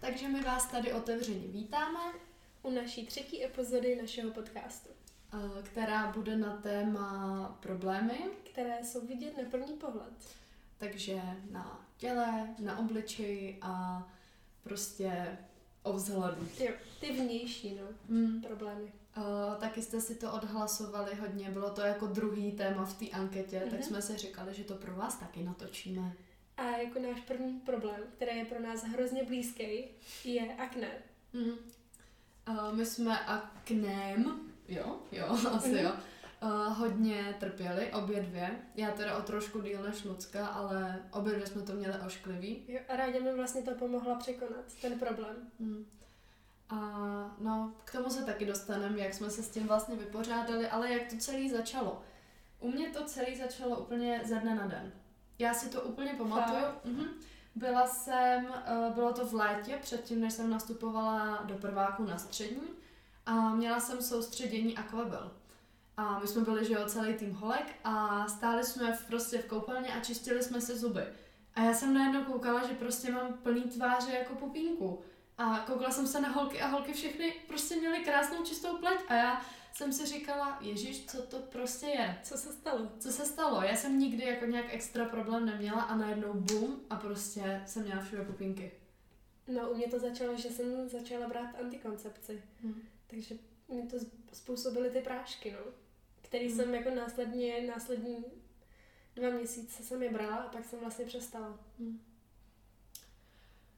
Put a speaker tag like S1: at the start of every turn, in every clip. S1: Takže my vás tady otevřeně vítáme,
S2: u naší třetí epizody našeho podcastu,
S1: eh, která bude na téma problémy,
S2: které jsou vidět na první pohled.
S1: takže na těle, na obličeji a prostě o vzhledu.
S2: Jo, ty vnější, no,
S1: Mm.
S2: problémy.
S1: Eh, Taky jste si to odhlasovali hodně, bylo to jako druhý téma v té anketě, mm-hmm. tak
S2: Mhm.
S1: jsme si říkali, že to pro vás taky natočíme.
S2: A jako náš první problém, který je pro nás hrozně blízký, je akné.
S1: Mm. Eh, My jsme akném, jo, jo, asi jo, eh, hodně trpěli, obě dvě. Já teda o trošku díl než Lucka, ale obě dvě jsme to měli ošklivý.
S2: Jo, a ráda mi vlastně to pomohla překonat, ten problém.
S1: Mm. A no, k tomu se taky dostaneme, jak jsme se s tím vlastně vypořádali, ale jak to celé začalo. U mě to celé začalo úplně ze dne na den. Já si to úplně pamatuju. Mhm. Byla jsem, eh, bylo to v létě, předtím, než jsem nastupovala do prváku na střední a měla jsem soustředění Aquabel. A my jsme byli, že jo, celý tým holek a stáli jsme v, prostě v koupelně a čistili jsme si zuby. A já jsem najednou koukala, že prostě mám plný tváře jako pupínku. A koukala jsem se na holky a holky všechny prostě měly krásnou čistou pleť a já jsem si říkala, ježíš, co to prostě je.
S2: Co se stalo?
S1: Co se stalo? Já jsem nikdy jako nějak extra problém neměla a najednou bum a prostě jsem měla všude pupínky.
S2: No, u mě to začalo, že jsem začala brát antikoncepci.
S1: Hm.
S2: Takže mi to z- způsobily ty prášky, no. Který
S1: Hmm.
S2: jsem jako následně, následní dva měsíce jsem je brala a pak jsem vlastně přestala.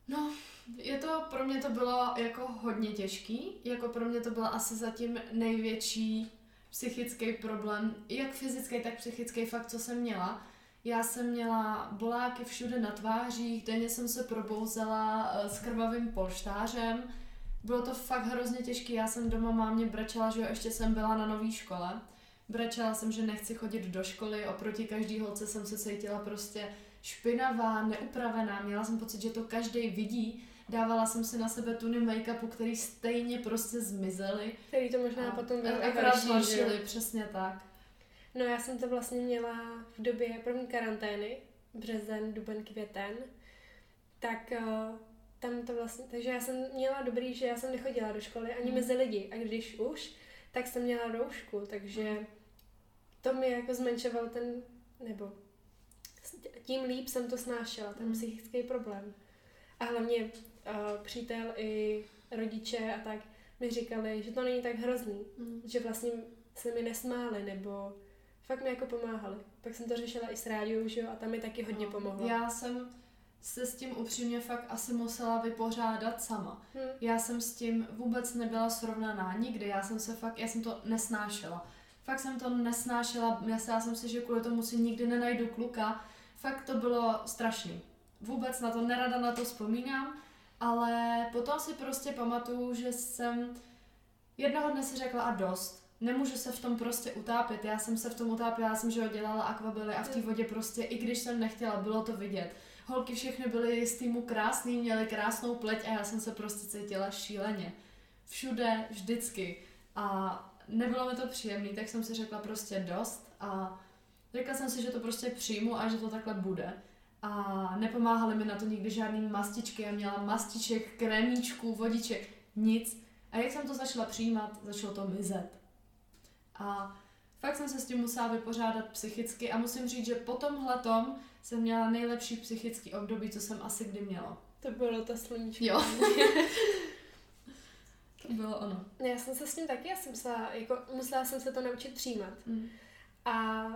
S1: No, je to, pro mě to bylo jako hodně těžký, jako pro mě to byl asi zatím největší psychický problém, jak fyzický, tak psychický fakt, co jsem měla. Já jsem měla boláky všude na tvářích, denně jsem se probouzela eh, s krvavým polštářem. Bylo to fakt hrozně těžké. Já jsem doma mámě brečela, že jo, ještě jsem byla na nové škole. Brečela jsem, že nechci chodit do školy, oproti každý holce jsem se cítila prostě špinavá, neupravená, měla jsem pocit, že to každý vidí. Dávala jsem si na sebe tuny make-upu, který stejně prostě zmizely.
S2: Který to možná potom bylo i
S1: akorát
S2: horší, že jo?
S1: zhoršily, přesně tak.
S2: No já jsem to vlastně měla v době první karantény, březen, duben, květen, tak eh, tam to vlastně, takže já jsem měla dobrý, že já jsem nechodila do školy ani
S1: Mm.
S2: mezi lidi a když už, tak jsem měla roušku, takže to mi jako zmenšovalo ten, nebo s- tím líp jsem to snášela, ten
S1: Mm.
S2: psychický problém. A hlavně eh, přítel i rodiče a tak mi říkali, že to není tak hrozný, že vlastně se mi nesmáli, nebo fakt mi jako pomáhali. Pak jsem to řešila i s rádiou, že jo, a tam mi taky hodně
S1: No,
S2: pomohlo.
S1: Já jsem se s tím upřímně fakt asi musela vypořádat sama.
S2: Hm.
S1: Já jsem s tím vůbec nebyla srovnaná nikdy, já jsem se fakt, já jsem to nesnášela. Fakt jsem to nesnášela, myslela jsem si, že kvůli tomu si nikdy nenajdu kluka. Fakt to bylo strašný. Vůbec na to nerada na to vzpomínám, ale potom si prostě pamatuju, že jsem jednoho dne si řekla a dost. Nemůžu se v tom prostě utápět. Já jsem se v tom utápěla, já jsem že jo, dělala akvabily a v té vodě prostě, i když jsem nechtěla, bylo to vidět. Holky všechny byly z týmu krásný, měly krásnou pleť a já jsem se prostě cítila šíleně. Všude, vždycky. A nebylo mi to příjemné, tak jsem si řekla prostě dost a řekla jsem si, že to prostě přijmu a že to takhle bude. A nepomáhaly mi na to nikdy žádný mastičky, já měla mastiček, krémíčků, vodiček, nic. A jak jsem to začala přijímat, začalo to mizet. A fakt jsem se s tím musela vypořádat psychicky a musím říct, že po tomhle tom jsem měla nejlepší psychický období, co jsem asi kdy měla.
S2: To bylo to sluníčko.
S1: Jo. To bylo ono.
S2: Já jsem se s tím taky, já jsem musela, jako, musela jsem se to naučit přijímat.
S1: Mm.
S2: A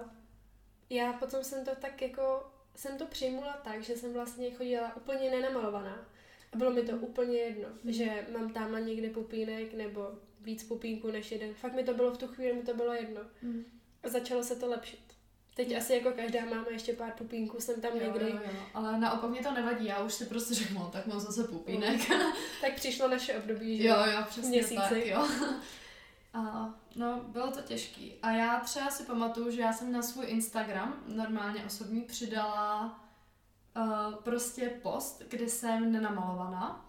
S2: já potom jsem to tak jako, jsem to přijmula tak, že jsem vlastně chodila úplně nenamalovaná. A bylo mi to úplně jedno,
S1: Mhm.
S2: že mám tamhle někde pupínek nebo víc pupínků než jeden. Fakt mi to bylo v tu chvíli, mi to bylo jedno.
S1: Mm.
S2: A začalo se to lepšit. Teď
S1: Jo.
S2: asi jako každá máme ještě pár pupínků, jsem tam
S1: Jo,
S2: někdy.
S1: jo, jo. Ale naopak mě to nevadí, já už si prostě řeknu, tak mám zase pupínek.
S2: Tak přišlo naše období, že
S1: Jo, jo, přesně
S2: Měsíci.
S1: tak, jo. A, no, bylo to těžký. A já třeba si pamatuju, že já jsem na svůj Instagram, normálně osobní, přidala uh, prostě post, kde jsem nenamalovaná.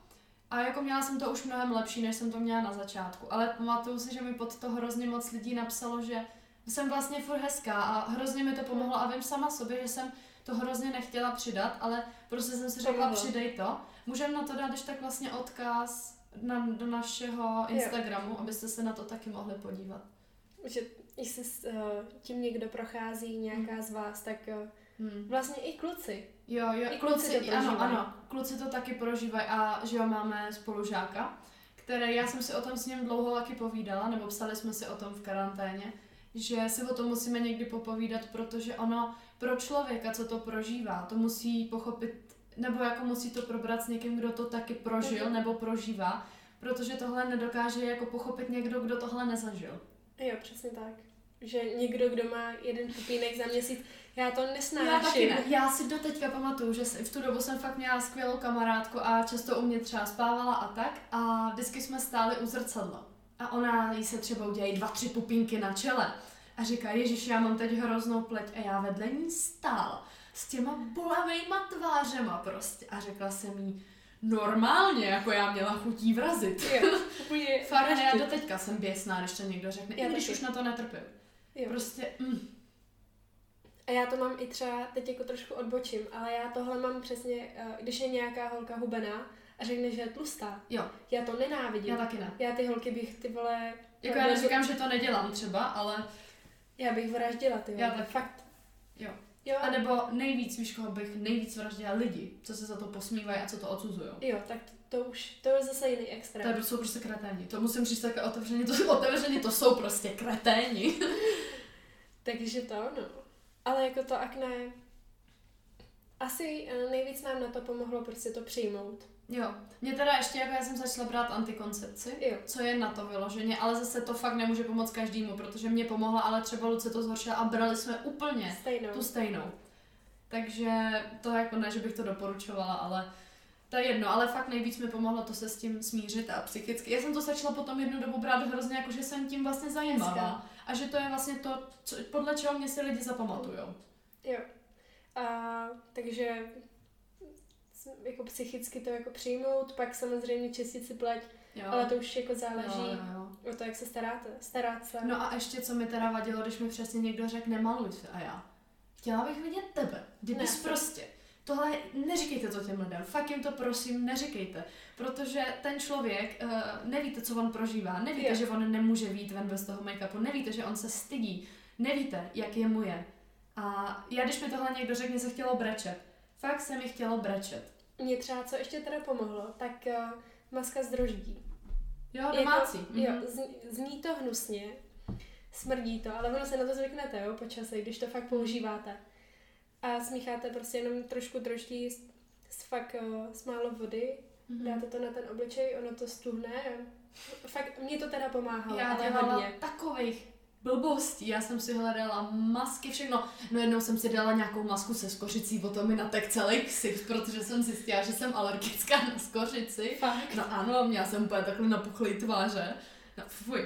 S1: A jako měla jsem to už mnohem lepší, než jsem to měla na začátku. Ale pamatuju si, že mi pod to hrozně moc lidí napsalo, že jsem vlastně furt hezká a hrozně mi to pomohlo a vím sama sobě, že jsem to hrozně nechtěla přidat, ale prostě jsem si řekla,
S2: Pomohlo.
S1: přidej to. Můžeme na to dát ještě tak vlastně odkaz na, do našeho Instagramu, jo. abyste se na to taky mohli podívat.
S2: Že jestli s, uh, tím někdo prochází, nějaká
S1: Hm.
S2: z vás, tak uh,
S1: Hmm.
S2: vlastně i kluci.
S1: Jo, jo,
S2: I kluci to prožívají.
S1: ano, ano, kluci to taky prožívají a že jo, máme spolužáka, které já jsem si o tom s ním dlouho taky povídala, nebo psali jsme si o tom v karanténě, že si o tom musíme někdy popovídat, protože ono pro člověka, co to prožívá, to musí pochopit, nebo jako musí to probrat s někým, kdo to taky prožil
S2: Mhm.
S1: nebo prožívá, protože tohle nedokáže jako pochopit někdo, kdo tohle nezažil.
S2: Jo, přesně tak. Že někdo, kdo má jeden pupínek za měsíc, já to nesnáším.
S1: Já taky ne. Já si doteďka pamatuju, že jsem- v tu dobu jsem fakt měla skvělou kamarádku a často u mě třeba spávala a tak a vždycky jsme stáli u zrcadla. A ona jí se třeba udělají dva, tři pupínky na čele a říká, Ježíš, já mám teď hroznou pleť a já vedle ní stál s těma bolavejma tvářema prostě. A řekla jsem jí, normálně, jako já měla chutí vrazit.
S2: Jo, úplně
S1: Fakt, a já
S2: vraždit.
S1: doteďka jsem běsná, když to někdo řekne,
S2: Já
S1: i když
S2: taky.
S1: už na to netrpím.
S2: Jo.
S1: Prostě, mm,
S2: A já to mám i třeba, teď jako trošku odbočím, ale já tohle mám přesně, eh, když je nějaká holka hubená a řekne, že je tlustá.
S1: jo,
S2: Já to nenávidím.
S1: já taky ne.
S2: já ty holky bych ty vole...
S1: Jako já
S2: vole,
S1: neříkám, že to nedělám třeba, ale
S2: Já bych vraždila ty vole.
S1: Já taky.
S2: Fakt.
S1: jo.
S2: Jo,
S1: A nebo nejvíc, víš, koho bych nejvíc vraždila lidi, co se za to posmívají a co to odsuzují.
S2: jo, tak to, to už, to je zase jiný extrém.
S1: To jsou prostě kreténi. To musím říct také otevřeně, to, otevřeně to jsou prostě kreténi.
S2: Takže to, no. Ale jako to akné, asi eh, nejvíc nám na to pomohlo prostě to přijmout.
S1: Jo. Mě teda ještě, jako já jsem začala brát antikoncepci,
S2: Jo.
S1: co je na to vyloženě, ale zase to fakt nemůže pomoct každému, protože mě pomohla, ale třeba Luce to zhoršila a brali jsme úplně
S2: Stejnou.
S1: tu stejnou. Takže to jako ne, že bych to doporučovala, ale to je jedno, ale fakt nejvíc mi pomohlo to se s tím smířit a psychicky. Já jsem to začala potom jednu dobu brát hrozně jako, že jsem tím vlastně zajímavá
S2: Hezká.
S1: a že to je vlastně to, co, podle čeho mě si lidi zapamatujou.
S2: Jo. A, takže s- jako psychicky to jako přijmout, pak samozřejmě čistit si pleť,
S1: Jo. No,
S2: ale to už jako záleží
S1: jo, jo, jo.
S2: o to, jak se staráte. Starat se.
S1: No a ještě, co mi teda vadilo, když mi přesně někdo řekne, nemaluj se a já. Chtěla bych vidět tebe, kdybys
S2: Ne.
S1: prostě. Tohle neříkejte to těm lidem, fakt jim to prosím neříkejte, protože ten člověk, eh, nevíte, co on prožívá, nevíte,
S2: Jo.
S1: že on nemůže vít ven bez toho make-upu, nevíte, že on se stydí, nevíte, jak je mu je. A já, když mi tohle někdo řekne, se chtělo brečet. Fakt se mi chtělo brečet.
S2: Mně třeba, co ještě teda pomohlo, tak eh, maska z droždí.
S1: Jo, domácí.
S2: Jako,
S1: mhm.
S2: jo, zní, zní to hnusně, smrdí to, ale ono se na to zvyknete, jo, po čase, když to fakt používáte. A smícháte prostě jenom trošku droždí s, s fakt eh, s málo vody,
S1: Mhm.
S2: dáte to na ten obličej, ono to stuhne. Fakt, mě to teda pomáhalo,
S1: Já
S2: ale
S1: dělala
S2: hodně.
S1: takových blbostí. Já jsem si hledala masky, všechno. No jednou jsem si dala nějakou masku se skořicí, potom mi natek celý ksicht, protože jsem zjistila, že jsem alergická na skořici.
S2: Fakt.
S1: No ano, měla jsem úplně takhle napuchlý tváře. No fuj.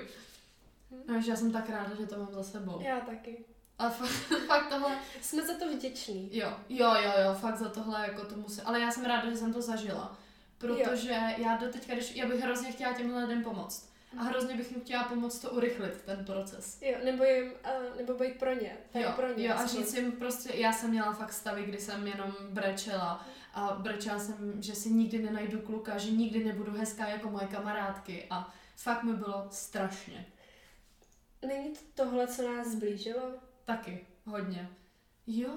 S1: No, že já jsem tak ráda, že to mám za sebou.
S2: Já taky.
S1: A fakt, fakt tohle,
S2: Jsme za to vděční.
S1: jo, jo, jo, jo, fakt za tohle jako to musím, ale já jsem ráda, že jsem to zažila, protože já do teďka, když, já bych hrozně chtěla těmhle lidem pomoct a
S2: Mhm.
S1: hrozně bych jim chtěla pomoct to urychlit, ten proces.
S2: Jo, nebo jim, eh, nebo být pro ně. Tady
S1: Jo,
S2: pro ně.
S1: jo, a
S2: aspoň.
S1: říct jim prostě, já jsem měla fakt stavy, kdy jsem jenom brečela a brečela jsem, že si nikdy nenajdu kluka, že nikdy nebudu hezká jako moje kamarádky a fakt mi bylo strašně.
S2: Není to tohle, co nás zblížilo?
S1: Taky, hodně. Jo,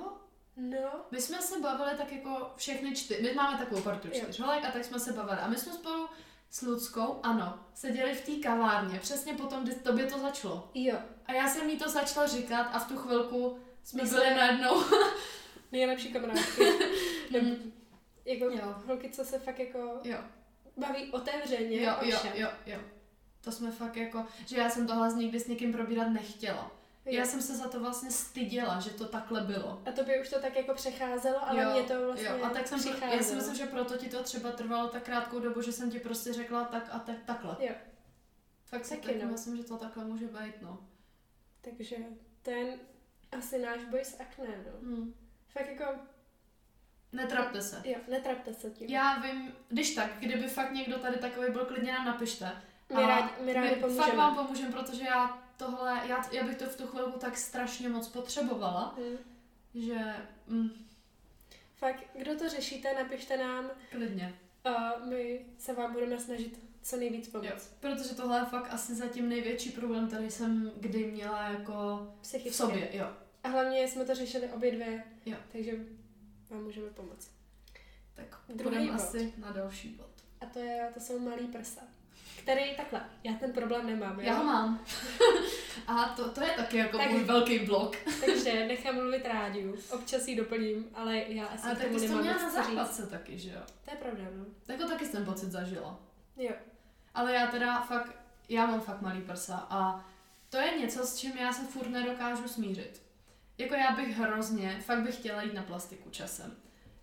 S2: No,
S1: my jsme se bavili tak jako všechny čtyři, my máme takovou partu
S2: Jo.
S1: čtyř holek a tak jsme se bavili a my jsme spolu s Luckou, ano, seděli v té kavárně, přesně potom, kdy tobě to začalo.
S2: jo.
S1: A já jsem jí to začala říkat a v tu chvilku jsme
S2: My
S1: byli
S2: jsme-
S1: najednou
S2: Nejlepší kamarádky. nebo, jako
S1: Mm. Jo.
S2: holky, co se fakt jako
S1: jo.
S2: baví otevřeně
S1: Jo,
S2: o
S1: jo,
S2: všem.
S1: jo, jo. To jsme fakt jako, že já jsem tohle nikdy s někým probírat nechtěla. Já jsem se za to vlastně styděla, že to takhle bylo.
S2: A tobě už to tak jako přecházelo, ale
S1: jo,
S2: mě to vlastně
S1: jo. A tak jsem, pro,
S2: přicházelo.
S1: já si myslím, že proto ti to třeba trvalo tak krátkou dobu, že jsem ti prostě řekla tak a tak takhle.
S2: Jo.
S1: Fakt si
S2: Taky
S1: taky
S2: no.
S1: myslím, že to takhle může být, no.
S2: Takže ten asi náš boj s akné, no.
S1: Hm.
S2: Fakt jako,
S1: Netrapte se.
S2: jo, netrapte se tím.
S1: Já vím, když tak, kdyby fakt někdo tady takový byl, klidně nám napište.
S2: my, rádi, my rádi
S1: fakt
S2: pomůžeme.
S1: vám pomůžeme, protože já tohle, já, já bych to v tu chvilku tak strašně moc potřebovala,
S2: Hm.
S1: že mm,
S2: Fakt, kdo to řešíte, napište nám.
S1: klidně.
S2: Eh, a my se vám budeme snažit co nejvíc
S1: Jo,
S2: pomoct.
S1: protože tohle je fakt asi zatím největší problém, který jsem kdy měla jako
S2: Psychicky.
S1: v sobě, jo.
S2: A hlavně jsme to řešili obě dvě,
S1: Jo.
S2: takže vám můžeme pomoct.
S1: Tak
S2: Druhý
S1: půjdeme
S2: bod.
S1: asi na další bod.
S2: A to, je, to jsou malý prsa. Který takhle, já ten problém nemám, jo?
S1: Já ho mám. A to, to je taky jako
S2: Tak-
S1: můj velký blok.
S2: Takže nechám mluvit rádiu, občas ji doplním, ale já asi
S1: Ale
S2: k
S1: tak
S2: tomu
S1: ty jsi to
S2: nemám
S1: měla na
S2: moc co říct.
S1: základce taky, že jo?
S2: To je pravda, no.
S1: Jako taky jsem pocit zažila.
S2: Jo.
S1: Ale já teda fakt, já mám fakt malý prsa a to je něco, s čím já se furt nedokážu smířit. Jako já bych hrozně, fakt bych chtěla jít na plastiku časem.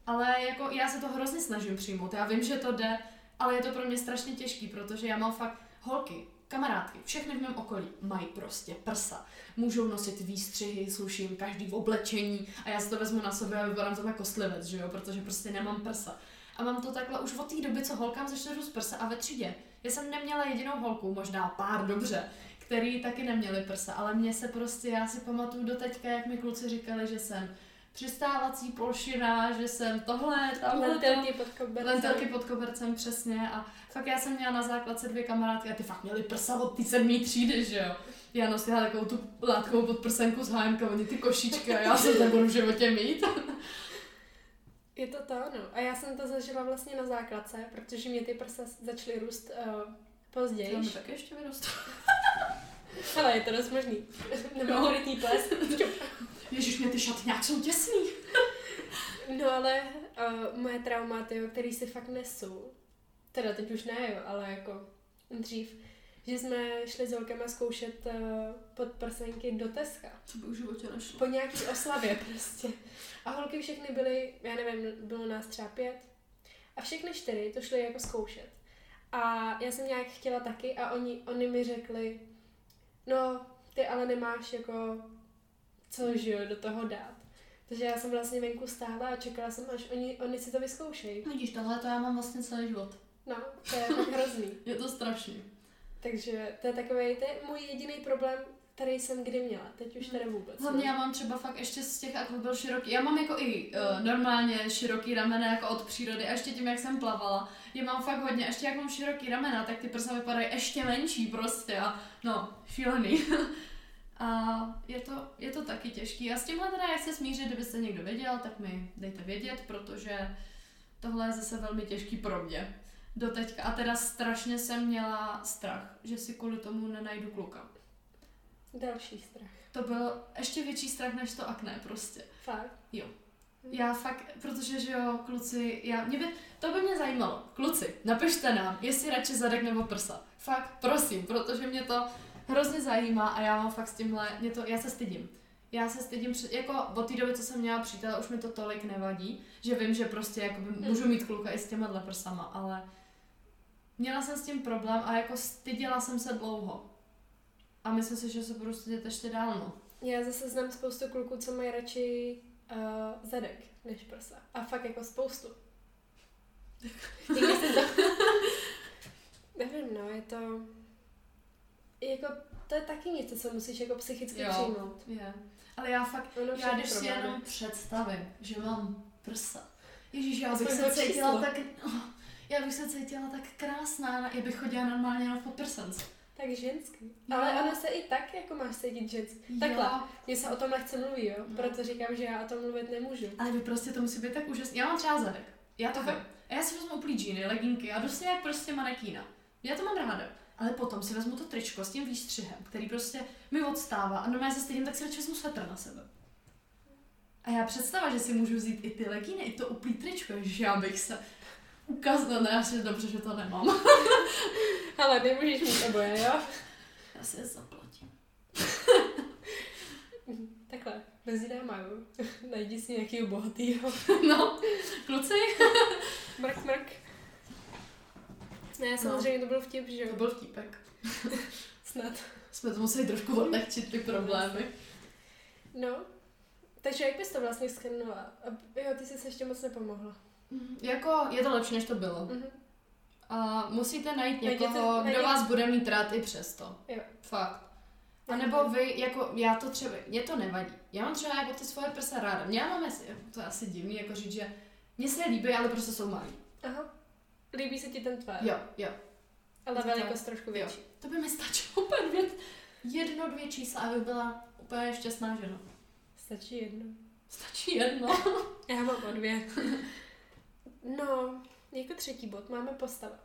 S1: Ale jako já se to hrozně snažím přijmout, já vím, že to jde, ale je to pro mě strašně těžký, protože já mám fakt holky, kamarádky, všechny v mém okolí mají prostě prsa. Můžou nosit výstřihy, sluším každý v oblečení a já si to vezmu na sobě a vypadám tam jako slivec, že jo, protože prostě nemám prsa. A mám to takhle už od té doby, co holkám začne růst prsa a ve třídě. Já jsem neměla jedinou holku, možná pár dobře, který taky neměli prsa, ale mě se prostě, já si pamatuju do teďka, jak mi kluci říkali, že jsem přistávací plošina, že jsem tohle, tamhle, to.
S2: Lentilky pod kobercem.
S1: Lentilky pod kobercem, přesně. A fakt já jsem měla na základce dvě kamarádky a ty fakt měly prsa od té sedmý třídy, že jo. Já nosila takovou tu látkovou podprsenku z HMK, oni ty košičky a já jsem tak budu v životě mít.
S2: Je to to, no. A já jsem to zažila vlastně na základce, protože mě ty prsa začaly růst uh,
S1: Já mi
S2: později.
S1: taky ještě vyrostla.
S2: Ale je to dost možný. Nemám
S1: Jo.
S2: horítní ples.
S1: Ježíš, mě ty šaty nějak jsou těsný.
S2: No ale uh, moje trauma, jo, který si fakt nesu, teda teď už ne, jo, ale jako dřív, že jsme šli s holkama zkoušet uh, podprsenky do Teska.
S1: To by v životě nešlo.
S2: Po nějaký oslavě prostě. A holky všechny byly, já nevím, bylo nás třeba pět. A všechny čtyři to šly jako zkoušet. A já jsem nějak chtěla taky a oni, oni mi řekli, no ty ale nemáš jako co že jo, do toho dát. Takže já jsem vlastně venku stála a čekala jsem, až oni, oni si to vyzkoušejí.
S1: Vidíš, tohle to já mám vlastně celý život.
S2: No, to je fakt hrozný.
S1: Je to strašný.
S2: Takže to je takový, to je můj jediný problém, který jsem kdy měla. Teď už teda vůbec.
S1: Mhm.
S2: no.
S1: Hlavně já mám třeba fakt ještě z těch, jak byl široký, já mám jako i uh, normálně široký ramena jako od přírody a ještě tím, jak jsem plavala, je mám fakt hodně, ještě jak mám široký ramena, tak ty prsa vypadají ještě menší prostě a no, šílený. a je to, je to taky těžký a s tímhle teda jak se smířit, kdybyste někdo věděl, tak mi dejte vědět, protože tohle je zase velmi těžký pro mě. Doteďka. A teda strašně jsem měla strach, že si kvůli tomu nenajdu kluka.
S2: Další strach.
S1: To byl ještě větší strach než to akné prostě.
S2: Fakt.
S1: Já fakt, protože že jo, kluci, já, mě by, to by mě zajímalo. Kluci, napište nám, jestli radši zadek nebo prsa. Fakt, prosím, protože mě to hrozně zajímá a já mám fakt s tímhle, mě to, já se stydím. Já se stydím, před, jako od té doby, co jsem měla přítele, už mi to tolik nevadí, že vím, že prostě jakoby, můžu mít kluka i s těma dle prsama, ale měla jsem s tím problém a jako styděla jsem se dlouho. A myslím si, že se budu stydět ještě dál, no.
S2: Já zase znám spoustu kluků, co mají radši uh, zadek než prsa. A fakt jako spoustu. Někdy se to... Nevím, no, je to... Jako, to je taky něco, co musíš jako psychicky
S1: Jo.
S2: přijmout.
S1: Je. Ale já fakt
S2: Ono
S1: Já
S2: všechny
S1: když si
S2: problémy.
S1: jenom představím, že mám prsa. Ježíš, já
S2: Aspoň
S1: bych se
S2: to
S1: cítila
S2: číslo.
S1: tak... oh, Já bych se cítila tak krásná, na- já bych chodila normálně jenom pod prsence.
S2: Tak ženský.
S1: Jo.
S2: Ale ono se i tak jako máš cítit ženský. Takhle.
S1: Jo,
S2: Mně se o tom lehce mluví, jo?
S1: No.
S2: Proto říkám, že já o tom mluvit nemůžu.
S1: ale vy prostě to musí být tak úžasný. Já mám třeba zadek. Já to
S2: Aha.
S1: vím. A já si vezmu úplný džíny, leginky a prostě jak prostě manekína. Já to mám ráda. Ale potom si vezmu to tričko s tím výstřihem, který prostě mi odstává a normálně se stydím, tak si radši vezmu svetr na sebe. A já představa, že si můžu vzít i ty legíny, i to úplný tričko, že já bych se ukázala, ne, já si dobře, že to nemám.
S2: Ale nemůžeš mít oboje, jo?
S1: Já se je zaplatím.
S2: Takhle. Mezi náma, jo? Najdi si nějakýho bohatýho.
S1: No, kluci.
S2: Mrk, mrk.
S1: No.
S2: Ne, samozřejmě to byl vtip, že
S1: To
S2: jo?
S1: byl vtípek.
S2: Snad.
S1: Jsme to museli trošku odlehčit ty problémy.
S2: No. Takže jak bys to vlastně schrnula? A- Jo, ty jsi se ještě moc nepomohla.
S1: Jako, je to lepší, než to bylo.
S2: Mhm.
S1: A musíte najít
S2: Najděte-
S1: někoho, kdo
S2: najděte-
S1: vás bude mít rád i přesto.
S2: Jo.
S1: Fakt. A nebo vy, jako já to třeba, mě to nevadí. Já mám třeba jako ty svoje prsa ráda. Mě já mám, asi- to je asi divný, jako říct, že mě se líbí, ale prostě jsou malý.
S2: Aha. Líbí se ti ten tvar,
S1: Jo, jo.
S2: ale
S1: Ten tvar.
S2: velikost trošku
S1: Jo.
S2: větší.
S1: To by mi stačilo úplně dvě, jedno, dvě čísla, abych byla úplně šťastná žena.
S2: Stačí jedno.
S1: Stačí jedno.
S2: Já mám o dvě. no, jako třetí bod máme postava.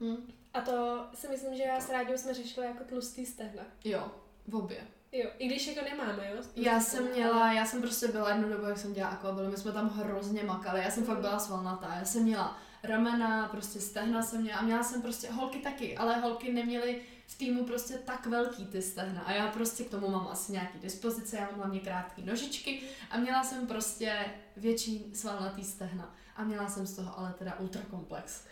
S1: Hm.
S2: A to si myslím, že já s Ráďou jsme řešila jako tlustý stehna.
S1: Jo, v obě.
S2: Jo, i když jako nemáme, jo? tlustý
S1: Já
S2: stehna,
S1: jsem
S2: ale-
S1: měla, já jsem prostě byla jednu dobu, jak jsem dělala akvabilu, my jsme tam hrozně makali, já jsem fakt byla svalnatá, já jsem měla ramena, prostě stehna jsem měla a měla jsem prostě, holky taky, ale holky neměly v týmu prostě tak velký ty stehna a já prostě k tomu mám asi nějaký dispozice, já mám hlavně krátké nožičky a měla jsem prostě větší svalnatý stehna a měla jsem z toho ale teda ultrakomplex.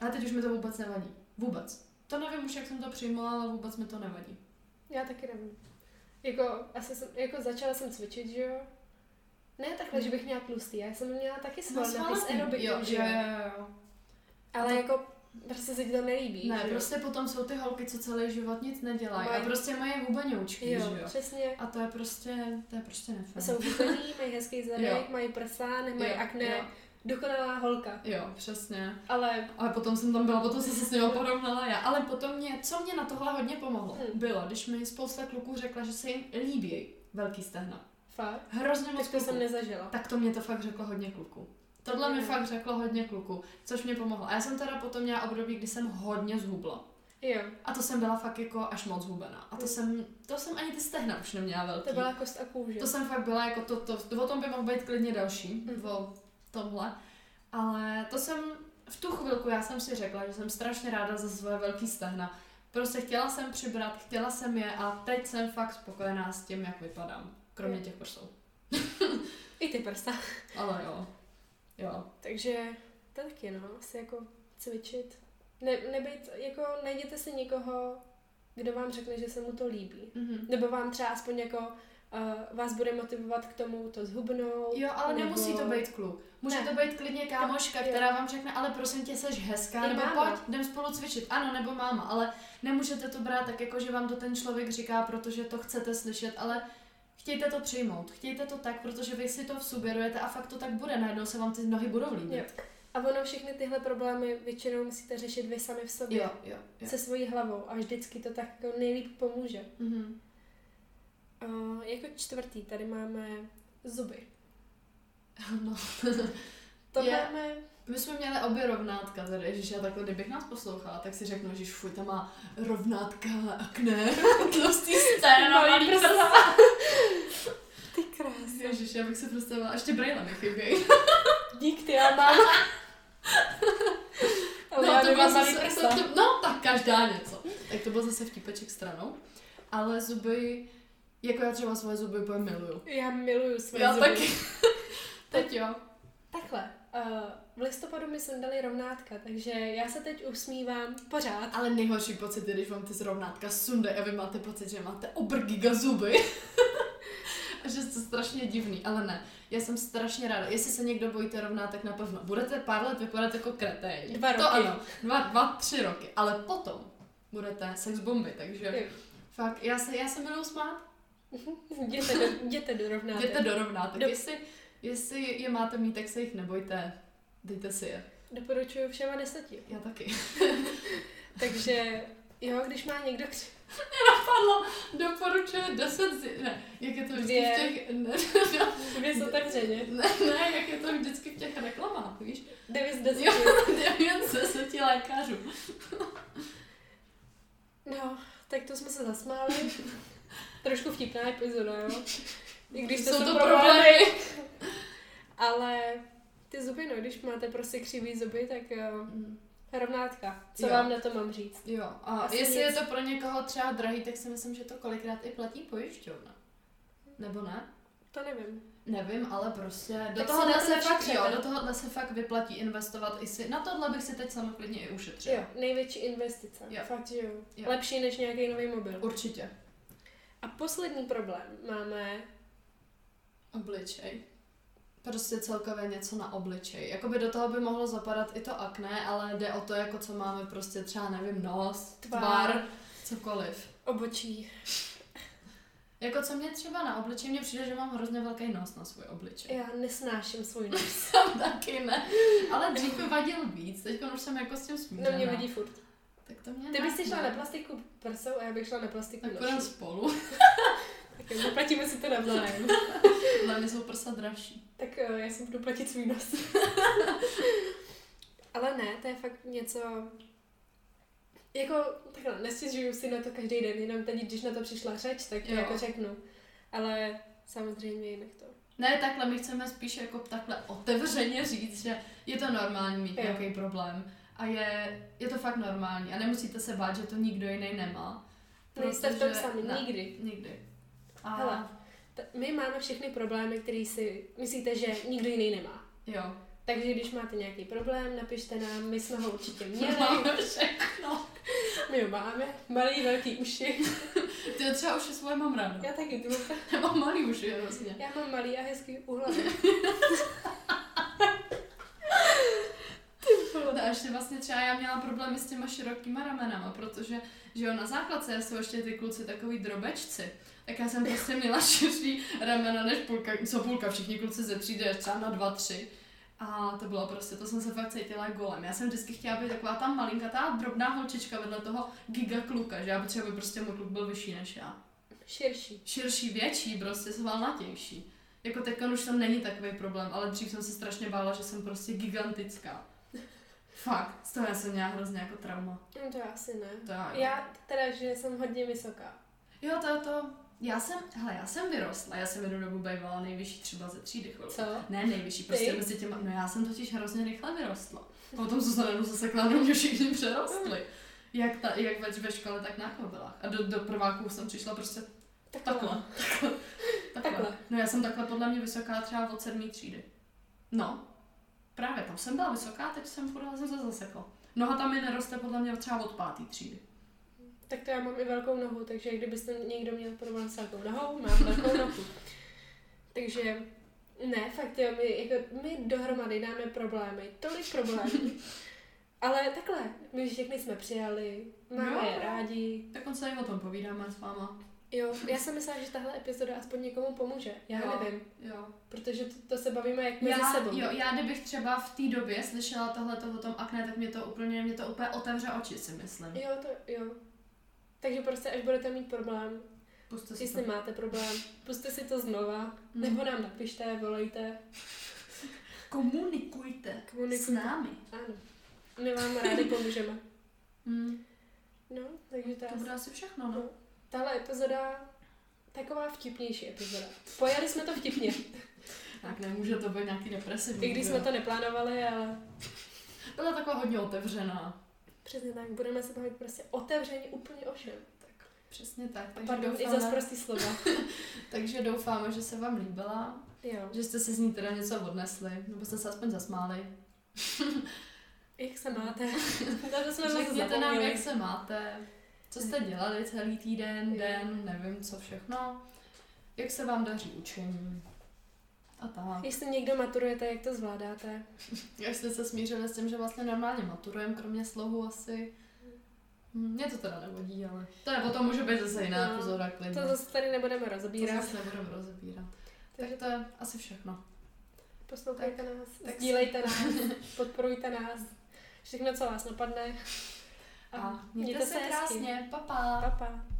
S1: A teď už mi to vůbec nevadí. Vůbec. To nevím už, jak jsem to přijmula, ale vůbec mi to nevadí.
S2: Já taky nevím. Jako, asi jsem, jako začala jsem cvičit, že jo? Ne takhle,
S1: Mm.
S2: že bych měla tlustý, já jsem měla taky svalnatý
S1: svalnatý.
S2: s aerobikem,
S1: jo,
S2: No, že
S1: jo,
S2: jo?
S1: jo, jo.
S2: Ale
S1: To-
S2: jako, prostě se ti to nelíbí,
S1: Ne,
S2: že jo?
S1: prostě potom jsou ty holky, co celý život nic nedělají a
S2: Mají-
S1: prostě mají hubeňoučky,
S2: Jo,
S1: že jo?
S2: přesně.
S1: A to je prostě, to je prostě nefér.
S2: Jsou výkonní, mají hezký
S1: Jo.
S2: zadek, mají prsa, nemají
S1: Jo,
S2: akné,
S1: jo.
S2: dokonalá holka.
S1: Jo, přesně.
S2: Ale
S1: Ale potom jsem tam byla, potom jsem se s ním porovnala já. Ale potom mě, co mě na tohle hodně pomohlo,
S2: Hmm.
S1: bylo, když mi spousta kluků řekla, že se jim líbí velký stehna.
S2: fakt,
S1: Hrozně moc
S2: tak to
S1: kluků.
S2: jsem nezažila.
S1: Tak to mě to fakt řeklo hodně kluků. Tohle mi
S2: Jo.
S1: fakt řeklo hodně kluků, což mě pomohlo. A já jsem teda potom měla období, kdy jsem hodně zhubla.
S2: Jo,
S1: A to jsem byla fakt jako až moc hubená. A to
S2: Hmm.
S1: jsem, to jsem ani ty stehna už neměla velký.
S2: to byla kost a kůže.
S1: To jsem fakt byla jako to, to, to o tom by mohl být klidně další,
S2: Mhm.
S1: o tomhle. Ale to jsem, v tu chvilku já jsem si řekla, že jsem strašně ráda za svoje velký stehna. Prostě chtěla jsem přibrat, chtěla jsem je a teď jsem fakt spokojená s tím, jak vypadám. Kromě
S2: Jo.
S1: těch prsou.
S2: I ty prsa.
S1: Ale jo. Jo.
S2: Takže to taky no, asi jako cvičit. Ne, nebejt, jako najděte si někoho, kdo vám řekne, že se mu to líbí.
S1: Mhm.
S2: Nebo vám třeba aspoň jako uh, vás bude motivovat k tomu to zhubnout.
S1: Jo, ale
S2: nebo-
S1: nemusí to být kluk. Může
S2: Ne.
S1: to být klidně kámoška,
S2: Jo.
S1: která vám řekne, ale prosím tě, seš hezká,
S2: I
S1: nebo
S2: máma.
S1: pojď, jdem spolu cvičit. Ano, nebo máma, ale nemůžete to brát tak, jako že vám to ten člověk říká, protože to chcete slyšet, ale chtějte to přijmout. Chtějte to tak, protože vy si to vsugerujete a fakt to tak bude. Najednou se vám ty nohy budou
S2: Jo.
S1: líbit.
S2: A ono všechny tyhle problémy většinou musíte řešit vy sami v sobě.
S1: jo, jo. jo.
S2: Se svojí hlavou a vždycky to tak jako nejlíp pomůže.
S1: Mhm.
S2: Uh, jako čtvrtý tady máme zuby.
S1: No.
S2: To
S1: Je-
S2: máme
S1: My jsme měli obě rovnátka tady, Ježíš, já takhle, kdybych nás poslouchala, tak si řeknu, že fuj, tam má rovnátka, akné, tlustý scéna,
S2: Malý
S1: malý
S2: prsa.
S1: prsa.
S2: ty krásy.
S1: Ježiš, já bych se představila, ještě brýle mi chybějí.
S2: Dík, ty já mám. Ale já
S1: No, to
S2: nemám
S1: bylo
S2: malý
S1: zase,
S2: prsa.
S1: to, to, no, tak každá něco. Tak to byl zase vtipeček stranou. Ale zuby, jako já třeba svoje zuby úplně miluju.
S2: Já miluju své
S1: Já
S2: zuby.
S1: taky. Teď jo.
S2: Takhle, uh, v listopadu mi sundali rovnátka, takže já se teď usmívám pořád.
S1: Ale nejhorší pocit je, když vám ty zrovnátka sunde a vy máte pocit, že máte obr giga zuby. a že jste strašně divný, ale ne. Já jsem strašně ráda. Jestli se někdo bojíte rovnátek na pevno, budete pár let vypadat jako kreténi.
S2: Dva
S1: To
S2: roky.
S1: ano, dva, dva, tři roky. Ale potom budete sex bomby, takže...
S2: Jo.
S1: Fakt, já se, já se miluju smát.
S2: Jděte do, jděte do rovnátek.
S1: Jděte do rovnátek.
S2: Do-
S1: Jestli, jestli je máte mít, tak se jich nebojte. Dejte si je.
S2: Doporučuju všema deseti.
S1: Já taky.
S2: Takže jo, když má někdo kři...
S1: Padlo, doporučuje 10 z... Ne, jak je to vždycky
S2: Dvě.
S1: v těch... Ne,
S2: Dvě otevřeně.
S1: ne, ne, jak je to vždycky v těch reklamách, víš?
S2: Devět z deseti.
S1: Jo. 9 z 10 lékařů.
S2: No, tak to jsme se zasmáli. Trošku vtipná epizoda, jo. I když to
S1: Jsou to
S2: jsou problémy.
S1: problémy.
S2: Ale ty zuby, no, když máte prostě křivý zuby, tak jo, rovnátka. Co
S1: Jo.
S2: vám na to mám říct?
S1: Mm, Jo, a
S2: Asi
S1: jestli
S2: nic.
S1: je to pro někoho třeba drahý, tak si myslím, že to kolikrát i platí pojišťovna. Nebo ne?
S2: To nevím.
S1: Nevím, ale prostě do
S2: Tak
S1: toho
S2: se na to
S1: se fakt,
S2: načtěte.
S1: jo, do tohohle se fakt vyplatí investovat i si, na tohle bych si teď sama klidně i ušetřila.
S2: Jo, největší investice.
S1: Jo.
S2: Fakt, že jo.
S1: Jo.
S2: Lepší než nějaký nový mobil.
S1: Určitě.
S2: A poslední problém máme,
S1: Obličej. Prostě celkově něco na obličej. Jakoby do toho by mohlo zapadat i to akné, ale jde o to, jako co máme prostě třeba, nevím, nos,
S2: Tvar.
S1: tvar, cokoliv.
S2: obočí.
S1: Jako co mě třeba na obličeji, mně přijde, že mám hrozně velký nos na svůj obličej.
S2: Já nesnáším svůj nos.
S1: Tam taky ne, ale dřív mi vadil víc, teď už jsem jako s tím
S2: No
S1: smířená.
S2: mě vidí furt.
S1: Tak to mě
S2: Ty bys si šla na
S1: napadne.
S2: plastiku prsou a já bych šla na plastiku
S1: Tak
S2: nosu.
S1: půjdeme spolu,
S2: Tak jo, zaplatíme si to navzájem.
S1: ale mě jsou prsa dražší.
S2: tak eh, já si budu platit svůj nos. Ale ne, to je fakt něco... Jako, takhle, nestěžuju si na to každý den, jenom teď, když na to přišla řeč, tak to
S1: Jo.
S2: jako řeknu. Ale samozřejmě jinak to.
S1: Ne, takhle, my chceme spíš jako takhle otevřeně říct, že je to normální mít
S2: Jo.
S1: nějaký problém. A je, je to fakt normální. A nemusíte se bát, že to nikdo jiný nemá.
S2: Nejste No, v tom
S1: No, Protože-
S2: sami,
S1: ne,
S2: nikdy.
S1: Nikdy. A
S2: Hele. T- My máme všechny problémy, které si myslíte, že nikdo jiný nemá.
S1: jo,
S2: Takže když máte nějaký problém, napište nám, my jsme ho určitě měli,
S1: máme všechno.
S2: my ho máme, malý, velký uši.
S1: Ty jo, třeba už je svoje mám ráda.
S2: Já taky jdu.
S1: Já mám malý už je hrozně.
S2: Já mám malý a hezký úhlavy.
S1: A ještě vlastně třeba já měla problémy s těma širokýma ramenama, protože že jo, na základce jsou ještě ty kluci takový drobečci. Tak já jsem prostě měla širší ramena než půlka, co půlka, všichni kluci ze třídy, až třeba na dva, tři. A to bylo prostě, to jsem se fakt cítila jako golem. Já jsem vždycky chtěla být taková ta malinkatá drobná holčička vedle toho giga kluka, že já potřeba by prostě můj kluk byl vyšší než já.
S2: Širší.
S1: širší, větší, prostě svalnatější. Jako teď už to není takový problém, ale dřív jsem se strašně bála, že jsem prostě gigantická. Fakt, z toho já jsem měla hrozně jako trauma.
S2: No to já asi ne.
S1: To já,
S2: Já teda, že jsem hodně vysoká.
S1: Jo, to, to, já jsem, hele, já jsem vyrostla, já jsem jednu dobu bývala nejvyšší třeba ze třídy chvilku.
S2: Co?
S1: Ne, nejvyšší, prostě
S2: Ty?
S1: mezi těma, no já jsem totiž hrozně rychle vyrostla. Potom se najednou zasekla, no mě všichni přerostli. Jak, ta, jak ve, ve škole, tak na chodilách. A do, do prváků jsem přišla prostě Takhle. Takhle.
S2: Takhle.
S1: takhle. No já jsem takhle podle mě vysoká třeba od sedmý třídy. No, právě tam jsem byla vysoká, teď jsem furt jsem se zasekla. Noha tam mi neroste podle mě třeba od pátý třídy.
S2: Tak to já mám i velkou nohu, takže kdybyste někdo měl problém s velkou nohou, mám velkou nohu. Takže ne, fakt jo, my, jako, my dohromady dáme problémy, tolik problémů. Ale takhle, my všechny jsme přijali, máme
S1: Jo.
S2: je rádi.
S1: Dokonce i o tom povídáme s váma.
S2: Jo, já jsem myslela, že tahle epizoda aspoň někomu pomůže. Já
S1: Jo.
S2: nevím,
S1: Jo.
S2: protože to, to se bavíme jak mezi
S1: Já,
S2: sebou.
S1: jo, já kdybych třeba v té době slyšela tohle o tom akné, tak mě to úplně, mě to úplně otevře oči, si myslím.
S2: Jo, to jo. Takže prostě, až budete mít problém,
S1: Puste si to. No.
S2: jestli máte problém, puste si to znova, nebo nám napište, volejte.
S1: Komunikujte,
S2: Komunikujte.
S1: s námi.
S2: Ano. My vám rádi pomůžeme.
S1: Mm.
S2: No, takže to,
S1: To
S2: asi-
S1: bude asi všechno, no.
S2: Tahle epizoda, taková vtipnější epizoda. Pojali jsme to vtipně,
S1: Tak nemůže to být nějaký depresivní.
S2: i když
S1: jo.
S2: jsme to neplánovali, ale
S1: Byla taková hodně otevřená.
S2: přesně tak, budeme se bavit prostě otevřeně úplně o všem.
S1: Přesně tak.
S2: A
S1: Takže,
S2: pardon, i za
S1: doufáme,
S2: prostý slova.
S1: takže doufáme, že se vám líbila,
S2: Jo.
S1: že jste si z ní teda něco odnesli, nebo jste se aspoň zasmáli.
S2: Jak se máte? Na to jsme moc
S1: Řekněte nám,
S2: No, zapomněli.
S1: jak se máte, co jste dělali celý týden, den, nevím co všechno, jak se vám daří učení a tak.
S2: Jestli někdo maturujete, jak to zvládáte?
S1: Jak jste se smířili s tím, že vlastně normálně maturujeme, kromě slohu asi. Hm, Mě to teda nevodí, ale to je o tom může být zase jiná
S2: No,
S1: epizoda klidně.
S2: To zase tady nebudeme
S1: Mhm. to
S2: rozbírat.
S1: zase nebudeme rozebírat.
S2: Takže
S1: Takže to je asi všechno.
S2: Poslouchejte nás,
S1: tak-
S2: sdílejte nás, podporujte nás. Všechno, co vás napadne.
S1: A mějte se
S2: hezky.
S1: krásně, pa pa.
S2: Pa, pa.